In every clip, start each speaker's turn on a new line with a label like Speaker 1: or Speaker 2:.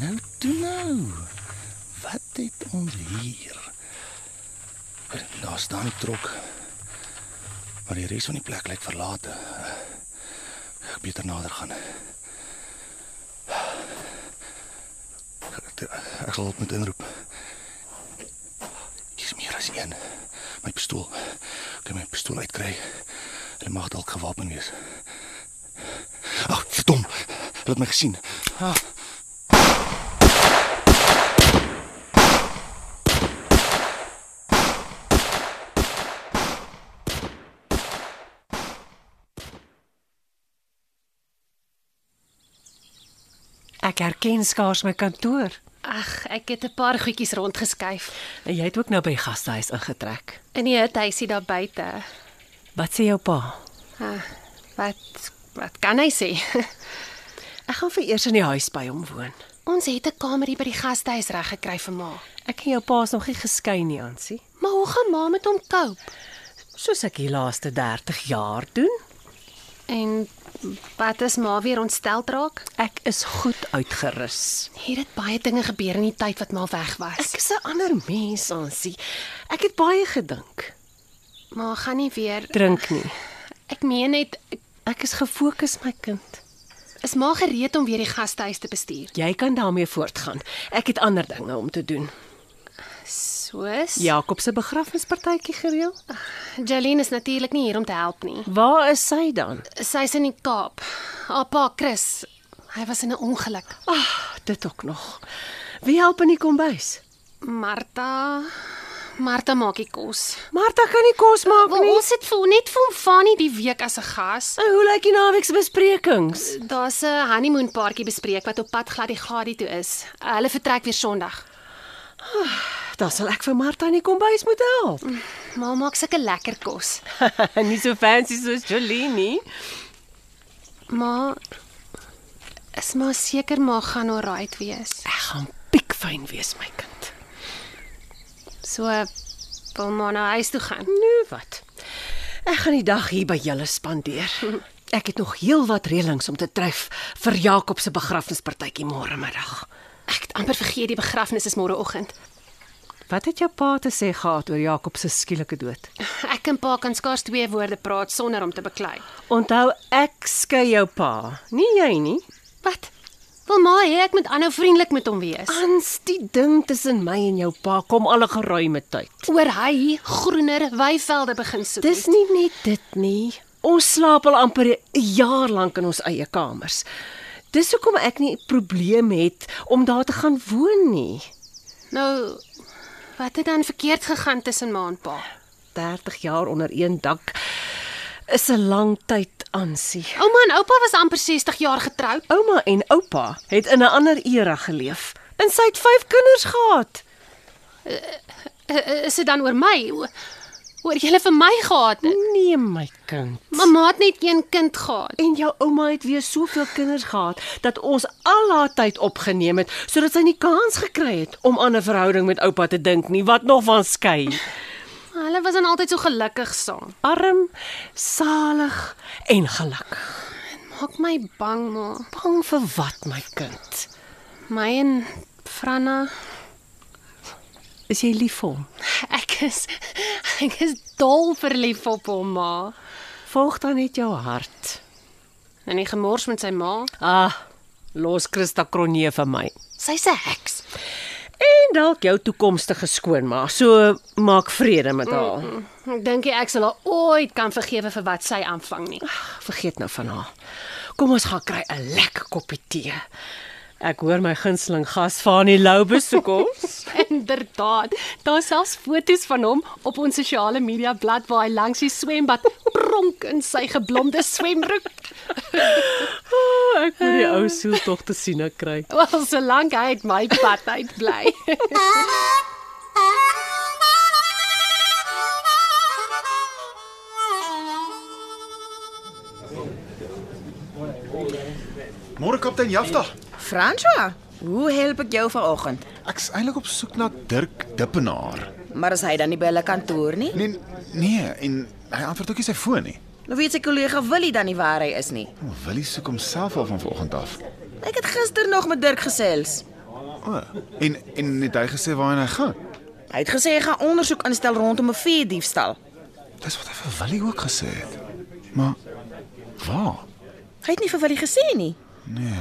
Speaker 1: Nou toe nou. Wat het ons hier? Daar staan 'n trok. Maar die res van die plek lyk verlate. Ek beter nader gaan. Ek sal op met inroep. Dis meer as een. My pistool. Ek kan my pistool uitkry. Hulle mag dalk gewapen wees. Ag, verdom. Hulle het my gesien. Ah.
Speaker 2: Ek herken skaars my kantoor.
Speaker 3: Ag, ek het 'n paar goedjies rondgeskuif
Speaker 2: En jy het ook nou by die gastehuis ingetrek.
Speaker 3: in die huisie daar buite.
Speaker 2: Wat sê jou pa?
Speaker 3: Ah, wat wat kan hy sê?
Speaker 2: Ek gaan vir eers in die huis by hom woon.
Speaker 3: Ons het 'n kamer hier by die gastehuis reg gekry vir ma.
Speaker 2: Ek en jou pa is nog nie geskei nie, Ansie.
Speaker 3: Maar hoe gaan ma met hom cope?
Speaker 2: Soos ek die laaste 30 jaar doen.
Speaker 3: En wat as ma weer ontstel raak?
Speaker 2: Ek is goed uitgerus.
Speaker 3: Het dit baie dinge gebeur in die tyd wat ma weg was.
Speaker 2: Ek is 'n ander mens, Ansie. Ek het baie gedink.
Speaker 3: ma gaan nie weer
Speaker 2: Drink nie.
Speaker 3: Ek meen net
Speaker 2: Ek is gefokus, my kind.
Speaker 3: is ma gereed om weer die gastehuis te bestuur.
Speaker 2: Jy kan daarmee voortgaan. Ek het ander dinge om te doen.
Speaker 3: Soos
Speaker 2: Jakob se begrafnispartytjie gereël?
Speaker 3: Jolene is natuurlik nie hier om te help nie.
Speaker 2: Waar is sy dan?
Speaker 3: Sy's in die Kaap. Haar pa Chris, hy was in 'n ongeluk.
Speaker 2: Ag, Ah, dit ook nog. Wie help in die kombuis?
Speaker 3: Martha Martha maak die kos.
Speaker 2: Martha kan nie kos maak
Speaker 3: Wel,
Speaker 2: nie.
Speaker 3: ons het vir net vir hom Fani die week as 'n gas.
Speaker 2: En hoe lyk die naweek se besprekings?
Speaker 3: Daar's 'n honeymoon paartjie bespreek wat op pad glad die gadie toe is. Hulle vertrek weer Sondag.
Speaker 2: Dan sal ek vir Martha in die kombuis moet help.
Speaker 3: Ma maak sulke lekker kos.
Speaker 2: nie so fancy soos Jolene nie.
Speaker 3: Ma is maar seker maar gaan alright wees.
Speaker 2: Ek gaan piekfyn wees, my kind.
Speaker 3: So wil ma na huis toe gaan.
Speaker 2: Nou wat? Ek gaan die dag hier by julle spandeer. Ek het nog heelwat reëlings om te tref vir Jakob se begrafnispartytjie môre middag.
Speaker 3: Ek het amper vergeet die begrafnis is môreoggend.
Speaker 2: Wat het jou pa te sê gehad oor Jakob se skielike dood?
Speaker 3: Ek en pa kan skaars twee woorde praat sonder om te beklei.
Speaker 2: Onthou ek skei jou pa, nie jy nie.
Speaker 3: Wat? Wil ma hê ek moet aanhou vriendelik met hom wees?
Speaker 2: Ans die ding tussen my en jou pa kom al 'n geruime tyd.
Speaker 3: oor hy groener weivelde begin soek.
Speaker 2: Dis nie net dit nie. Ons slaap al amper 'n jaar lank in ons eie kamers. Dis hoekom ek nie 'n probleem het om daar te gaan woon nie.
Speaker 3: nou wat het dan verkeerd gegaan tussen ma en pa?
Speaker 2: 30 jaar onder een dak is 'n lang tyd aansie.
Speaker 3: Ouma en oupa was amper 60 jaar getroud.
Speaker 2: Ouma en oupa het in 'n ander era geleef. En sy het 5 kinders gehad.
Speaker 3: Uh, is dit dan oor my? O- Oor julle vir my gehad het.
Speaker 2: Nee my kind.
Speaker 3: Mamma het net een kind gehad.
Speaker 2: En jou ouma het weer soveel kinders gehad dat ons al haar tyd opgeneem het sodat sy nie kans gekry het om aan 'n verhouding met oupa te dink nie, wat nog van skei.
Speaker 3: Hulle was dan altyd so gelukkig saam.
Speaker 2: arm, salig en gelukkig.
Speaker 3: Maak my bang, ma.
Speaker 2: Bang vir wat, my kind?
Speaker 3: My en Franna,
Speaker 2: Is jy lief vir hom?
Speaker 3: ek is ek is dol verlief op hom, ma.
Speaker 2: Volg dan net jou hart.
Speaker 3: En hy gemors met sy ma.
Speaker 2: Ah, los Christa Kronje vir my.
Speaker 3: Sy's 'n heks.
Speaker 2: En dalk jou toekomstige skoonma. So maak vrede met haar.
Speaker 3: Ek dink nie ek sal haar ooit kan vergewe vir wat sy aanvang nie.
Speaker 2: Vergeet nou van haar. Kom ons gaan kry 'n lekker koppie tee. Ek hoor my gunsteling gas Fanie Lou besoek ons.
Speaker 3: Inderdaad. Daar's selfs foto's van hom op ons sosiale media blad waar hy langs die swembad pronk in sy geblomde swembroek.
Speaker 2: oh, ek moet die ou siel tog te sien ek kry.
Speaker 3: Wel, solank hy uit my pad uit bly.
Speaker 4: Môre kaptein Jafta.
Speaker 5: François, hoe help ek jou vanoggend?
Speaker 4: Ek's eintlik op soek na Dirk Dippenaar.
Speaker 5: Maar as hy dan nie by hulle kantoor nie,
Speaker 4: Nee, nee, en hy antwoord ook nie sy foon nie.
Speaker 5: nou weet sy kollega Willie dan nie waar hy is nie.
Speaker 4: O, Willie soek homself al van vanoggend af.
Speaker 5: Ek het gister nog met Dirk gesels.
Speaker 4: O, en en het hy gesê waarheen hy gaan?
Speaker 5: Hy het gesê hy gaan ondersoek instel rondom 'n veediefstal.
Speaker 4: Dis wat hy vir Willie ook gesê het. Maar waar?
Speaker 5: Hy het nie vir Willie gesê nie.
Speaker 4: Nee.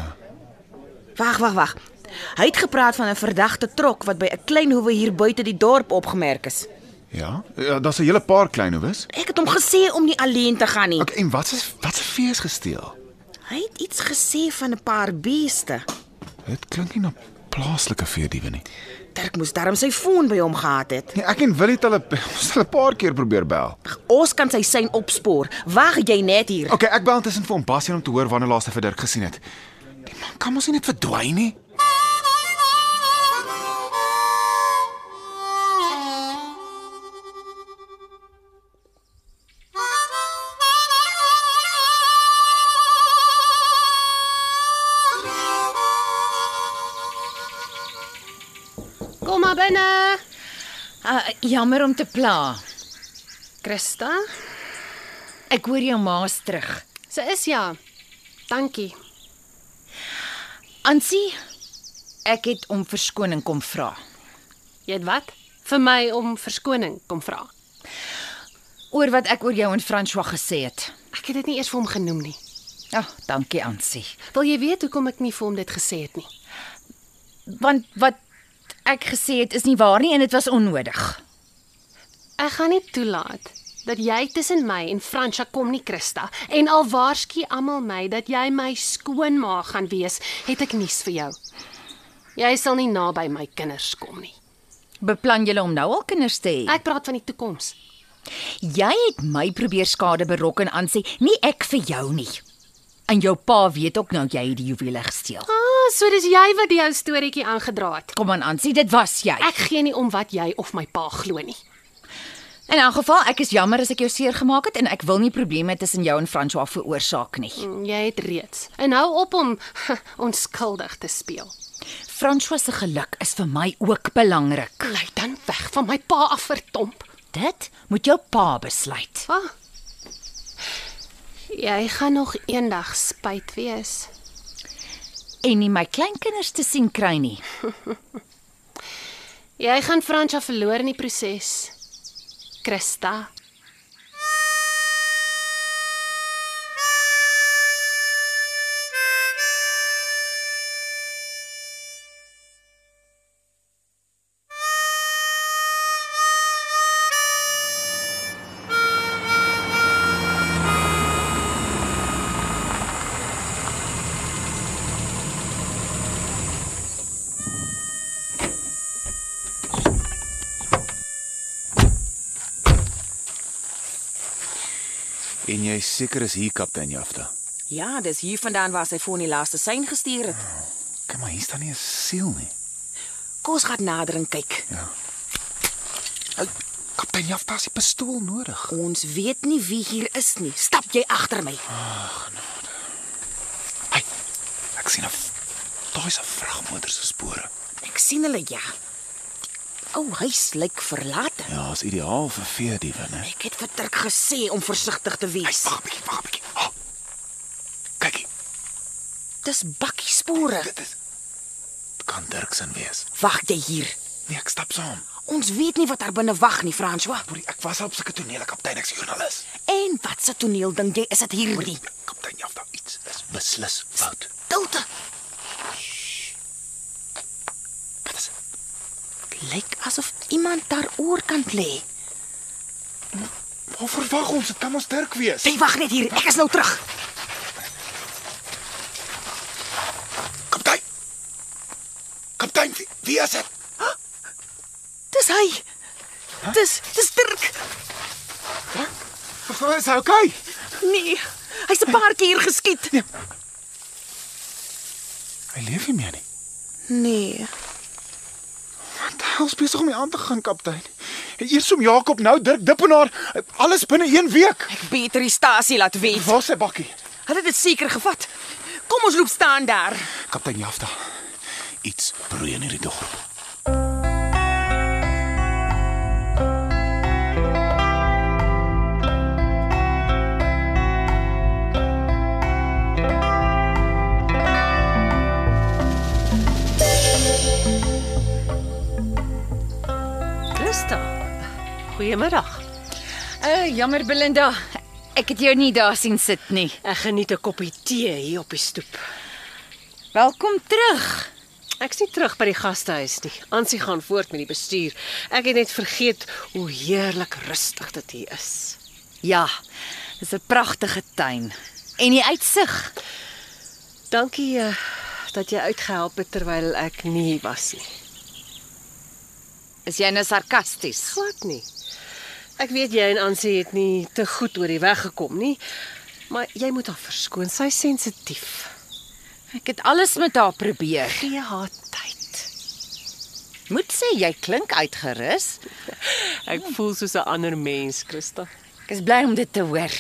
Speaker 5: Wag, wag, wag. Hy het gepraat van 'n verdagte trok wat by 'n klein hoewe hier buite die dorp opgemerk is.
Speaker 4: Ja, ja daar's 'n hele paar klein hoes.
Speaker 5: Ek het hom gesê om nie alleen te gaan nie.
Speaker 4: Ek en wat is wat se fees gesteel?
Speaker 5: Hy het iets gesê van 'n paar beeste.
Speaker 4: Dit klink nie na plaaslike veediewe nie.
Speaker 5: Dirk moes daarom sy foon by hom gehad het.
Speaker 4: Nee, ek en Willie het al 'n ons het al 'n paar keer probeer bel.
Speaker 5: Ons kan sy sein opspoor. Wag jy net hier.
Speaker 4: Okay, ek bel intussen vir hom Basie om te hoor wanneer laas hy vir Dirk gesien het. Die man kan mos nie net verdwyn nie.
Speaker 3: Kom maar binne.
Speaker 6: Uh, jammer om te pla.
Speaker 3: Christa,
Speaker 6: Ek hoor jou ma's terug.
Speaker 3: sy is ja. Dankie.
Speaker 6: Ansie, ek het om verskoning kom vra.
Speaker 3: Jy het wat? Vir my om verskoning kom vra.
Speaker 6: Oor wat ek oor jou en François gesê het.
Speaker 3: Ek het dit nie eers vir hom genoem nie.
Speaker 6: Ag, oh, dankie Ansie.
Speaker 3: Wil jy weet hoekom ek nie vir hom dit gesê het nie?
Speaker 6: Want wat ek gesê het is nie waar nie en dit was onnodig.
Speaker 3: Ek gaan nie toelaat dat jy tussen my en Fransja kom nie, Christa. En al waarsku almal my dat jy my skoonma gaan wees, het ek nuus vir jou. Jy sal nie naby my kinders kom nie.
Speaker 6: Beplan julle om nou al kinders te hê?
Speaker 3: Ek praat van die toekoms.
Speaker 6: Jy het my probeer skade berokken Ansie, nie ek vir jou nie. En jou pa weet ook nou jy het die juwele gesteel.
Speaker 3: Ah, so dis jy wat die ou storieetjie aangedra het.
Speaker 6: Kom aan Ansie, dit was jy.
Speaker 3: Ek gee nie om wat jy of my pa glo nie.
Speaker 6: In 'n geval, ek is jammer as ek jou seer gemaak het en ek wil nie probleme tussen jou en François veroorsaak nie.
Speaker 3: Mm, Jy het reeds. En hou op om onskuldig te speel.
Speaker 6: François se geluk is vir my ook belangrik.
Speaker 3: Bly dan weg van my pa af verdomp.
Speaker 6: Dit moet jou pa besluit.
Speaker 3: Ah. Jy gaan nog eendag spyt wees.
Speaker 6: En nie my kleinkinders te sien kry nie.
Speaker 3: Jy gaan Fransja verloor in die proses. Christa,
Speaker 4: En jy is seker is hier kaptein Jafta.
Speaker 5: Ja, dis hier vandaan waar sy foon die laaste sein gestuur het.
Speaker 4: Kom maar, hier staan nie 'n siel nie.
Speaker 5: Kom ons gaan nader en kyk.
Speaker 4: Ou, Kaptein Jafta het 'n pistool nodig.
Speaker 5: Ons weet nie wie hier is nie. Stap jy agter my.
Speaker 4: Hey, ek sien 'n daar's 'n vragmotor se spore.
Speaker 5: Ek sien hulle ja. O, huis lyk verlate.
Speaker 4: Ja, is ideaal vir veediewe, né?
Speaker 5: Ek het vir Dirk gesê om versigtig te
Speaker 4: Hey,
Speaker 5: wees.
Speaker 4: wag 'n bietjie, wag 'n bietjie. Oh, kyk, hier,
Speaker 5: Dis bakkie spore.
Speaker 4: dit is dit kan Dirksen wees.
Speaker 5: Wag jy hier.
Speaker 4: Nee, ek stap saam.
Speaker 5: Ons weet nie wat daar binne wag nie, François.
Speaker 4: Broer, ek was al op sulke tonele kaptein, ek's joernalis.
Speaker 5: En wat se toneel dink jy is dit hierdie?
Speaker 4: Kaptein Jafta, iets is beslis fout.
Speaker 5: Stilte.
Speaker 4: Wat is dit?
Speaker 7: Lyk asof iemand daar oorkant lê.
Speaker 1: Waar verwag ons? Dit kan ons sterk wees.
Speaker 7: Jy wag net hier, ek is nou terug.
Speaker 1: Kaptein. Kaptein, wie, wie is dit?
Speaker 7: Dis hy. Dis dis Dirk.
Speaker 4: Is hy okay? Nee.
Speaker 7: Nee. Hy's 'n paar keer geskiet.
Speaker 4: Hy leef nie meer nie.
Speaker 7: Nee.
Speaker 4: Wat hels besig om hier aan te gaan, kaptein? Eers om Jakob, nou Dirk Dippenaar, alles binne 1 week.
Speaker 5: Ek beter die stasie laat weet.
Speaker 4: Waar is sy bakkie?
Speaker 5: Hulle het dit seker gevat. Kom ons loop staan daar.
Speaker 4: Kaptein Jafta.
Speaker 1: Iets broei in hierdie dorp.
Speaker 2: Christa. Goeiemiddag.
Speaker 6: Uh, jammer Belinda, ek het jou nie daar sien sit nie.
Speaker 2: Ek geniet 'n koppie tee hier op die stoep.
Speaker 6: Welkom terug.
Speaker 2: Ek's nie terug by die gastehuis nie. Ansie gaan voort met die bestuur. Ek het net vergeet hoe heerlik rustig dit hier is.
Speaker 6: Ja. Dis 'n pragtige tuin en die uitsig.
Speaker 2: Dankie eh, dat jy uitgehelp het terwyl ek nie hier was nie.
Speaker 6: Is jy nou sarkasties?
Speaker 2: Glad nie. Ek weet jy en Ansie het nie te goed oor die weg gekom nie, maar jy moet haar verskoon. Sy's sensitief.
Speaker 6: Ek het alles met haar probeer.
Speaker 2: Gee haar tyd.
Speaker 6: Moet sê jy klink uitgerus.
Speaker 2: Ek voel soos 'n ander mens, Christa.
Speaker 6: Ek is bly om dit te hoor.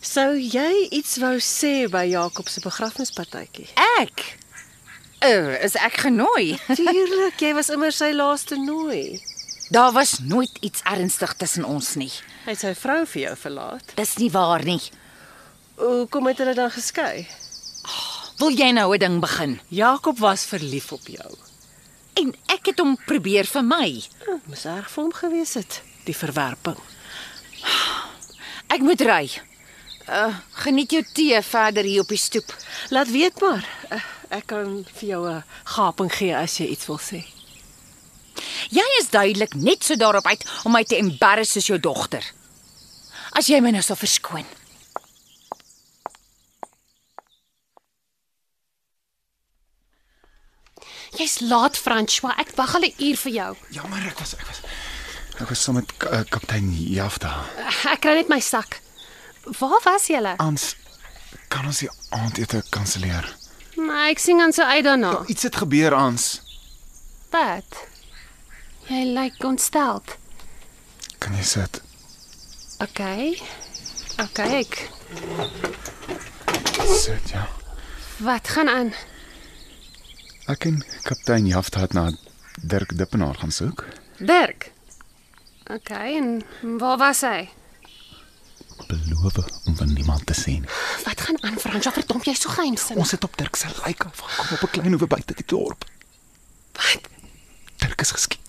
Speaker 2: Sou jy iets wou sê by Jakob se begrafnispartytjie?
Speaker 6: Ek. O, is ek genooi?
Speaker 2: Tuurlik, jy was immer sy laaste nooi.
Speaker 6: Daar was nooit iets ernstig tussen ons nie.
Speaker 2: Hy het sy vrou vir jou verlaat.
Speaker 6: Dis nie waar nie.
Speaker 2: Hoekom het hulle dan geskei?
Speaker 6: Wil jy nou 'n ding begin?
Speaker 2: Jakob was verlief op jou.
Speaker 6: En ek het hom probeer vermy.
Speaker 2: Dit Oh, moes erg vir hom gewees het, die verwerping.
Speaker 6: Ek moet ry. Uh, geniet jou tee verder hier op die stoep.
Speaker 2: Laat weet maar. Eh, Ek kan vir jou 'n gaping gee as jy iets wil sê.
Speaker 6: Jy is duidelik net so daarop uit om my te embarrass soos jou dogter. As jy my nou sou verskoon.
Speaker 3: Jy's laat, François. Ek wag al 'n uur vir jou.
Speaker 4: Jammer, ek was ek was ek was saam met k- eh, kaptein Jafta.
Speaker 3: Ek kry net my sak. Waar was julle?
Speaker 4: Ans kan ons die aandete kanselleer.
Speaker 3: Nee, ek sien aan sy uit daarna.
Speaker 4: Iets het gebeur, Ans.
Speaker 3: Wat? Jy lyk ontsteld.
Speaker 4: Kan jy sit?
Speaker 3: OK. OK, ek.
Speaker 4: Sit, ja.
Speaker 3: Wat gaan aan?
Speaker 4: Ek en kaptein Jafta het na Dirk Dippenaar gaan soek.
Speaker 3: Dirk. OK, en waar was hy?
Speaker 1: Beloof om van niemand te sien.
Speaker 3: Wat gaan aan, François? Verdomp, jy's so
Speaker 4: Ons
Speaker 3: geheimsinnig.
Speaker 4: het op Dirk se lijk afgekom op 'n klein hoeve buite die dorp.
Speaker 3: Wat?
Speaker 4: Dirk is geskiet.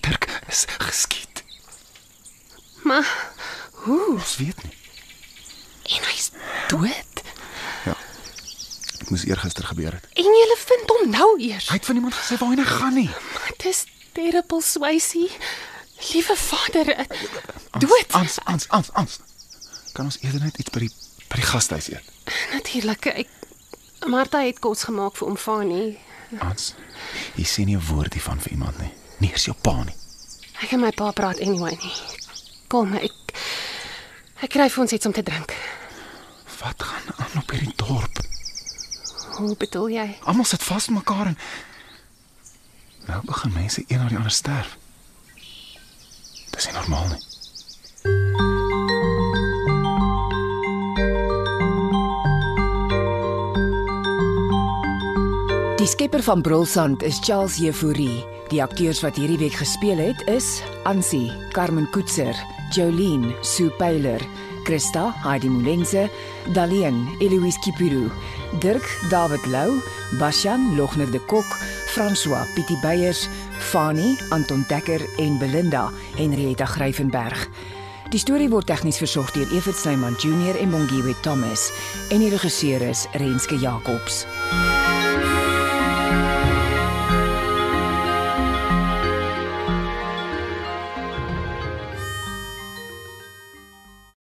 Speaker 4: Dirk is geskiet.
Speaker 3: Maar
Speaker 4: Ons weet nie.
Speaker 3: en hy's dood.
Speaker 4: Dit moes eergister gebeur het.
Speaker 3: En jy vind hom nou eers.
Speaker 4: Hy het van iemand gesê waarheen hy gaan nie.
Speaker 3: Dis terrible swaisi. Liewe Vader, eh,
Speaker 4: Ans,
Speaker 3: Dood.
Speaker 4: Ans, ans, ans, ans. Kan ons eerder net iets by die by die gastehuis eet?
Speaker 3: natuurlik. Ek Martha het kos gemaak vir Omfani.
Speaker 4: Ans. Jy sien nie 'n woordie van vir iemand nie. Nie eens jou pa nie.
Speaker 3: Ek en my pa praat anyway nie. Kom, ek ek kry vir ons iets om te drink.
Speaker 4: Wat gaan aan op hierdie dorp?
Speaker 3: Hoe bedoel jy?
Speaker 4: Almal sit vas met mekaar en nou begin mense een na die ander sterf. Dis nie normaal nie.
Speaker 8: Die skepper van Brulsand is Charles Jefouri. Die akteurs wat hierdie week gespeel het is Ansie, Carmen Koetser, Jolene, Sue Pyler, Christa, Heidi Molense, Dalien, Eloise Kipuru, Dirk David Lou, Bashan Logner de Kok, François Pietie Beyers, Fani Anton Dekker en Belinda Henrietta Gryvenberg. Die storie word tegnies versorg deur Evert Snyman Junior en Bongwe Thomas en die regisseur is Renske Jacobs.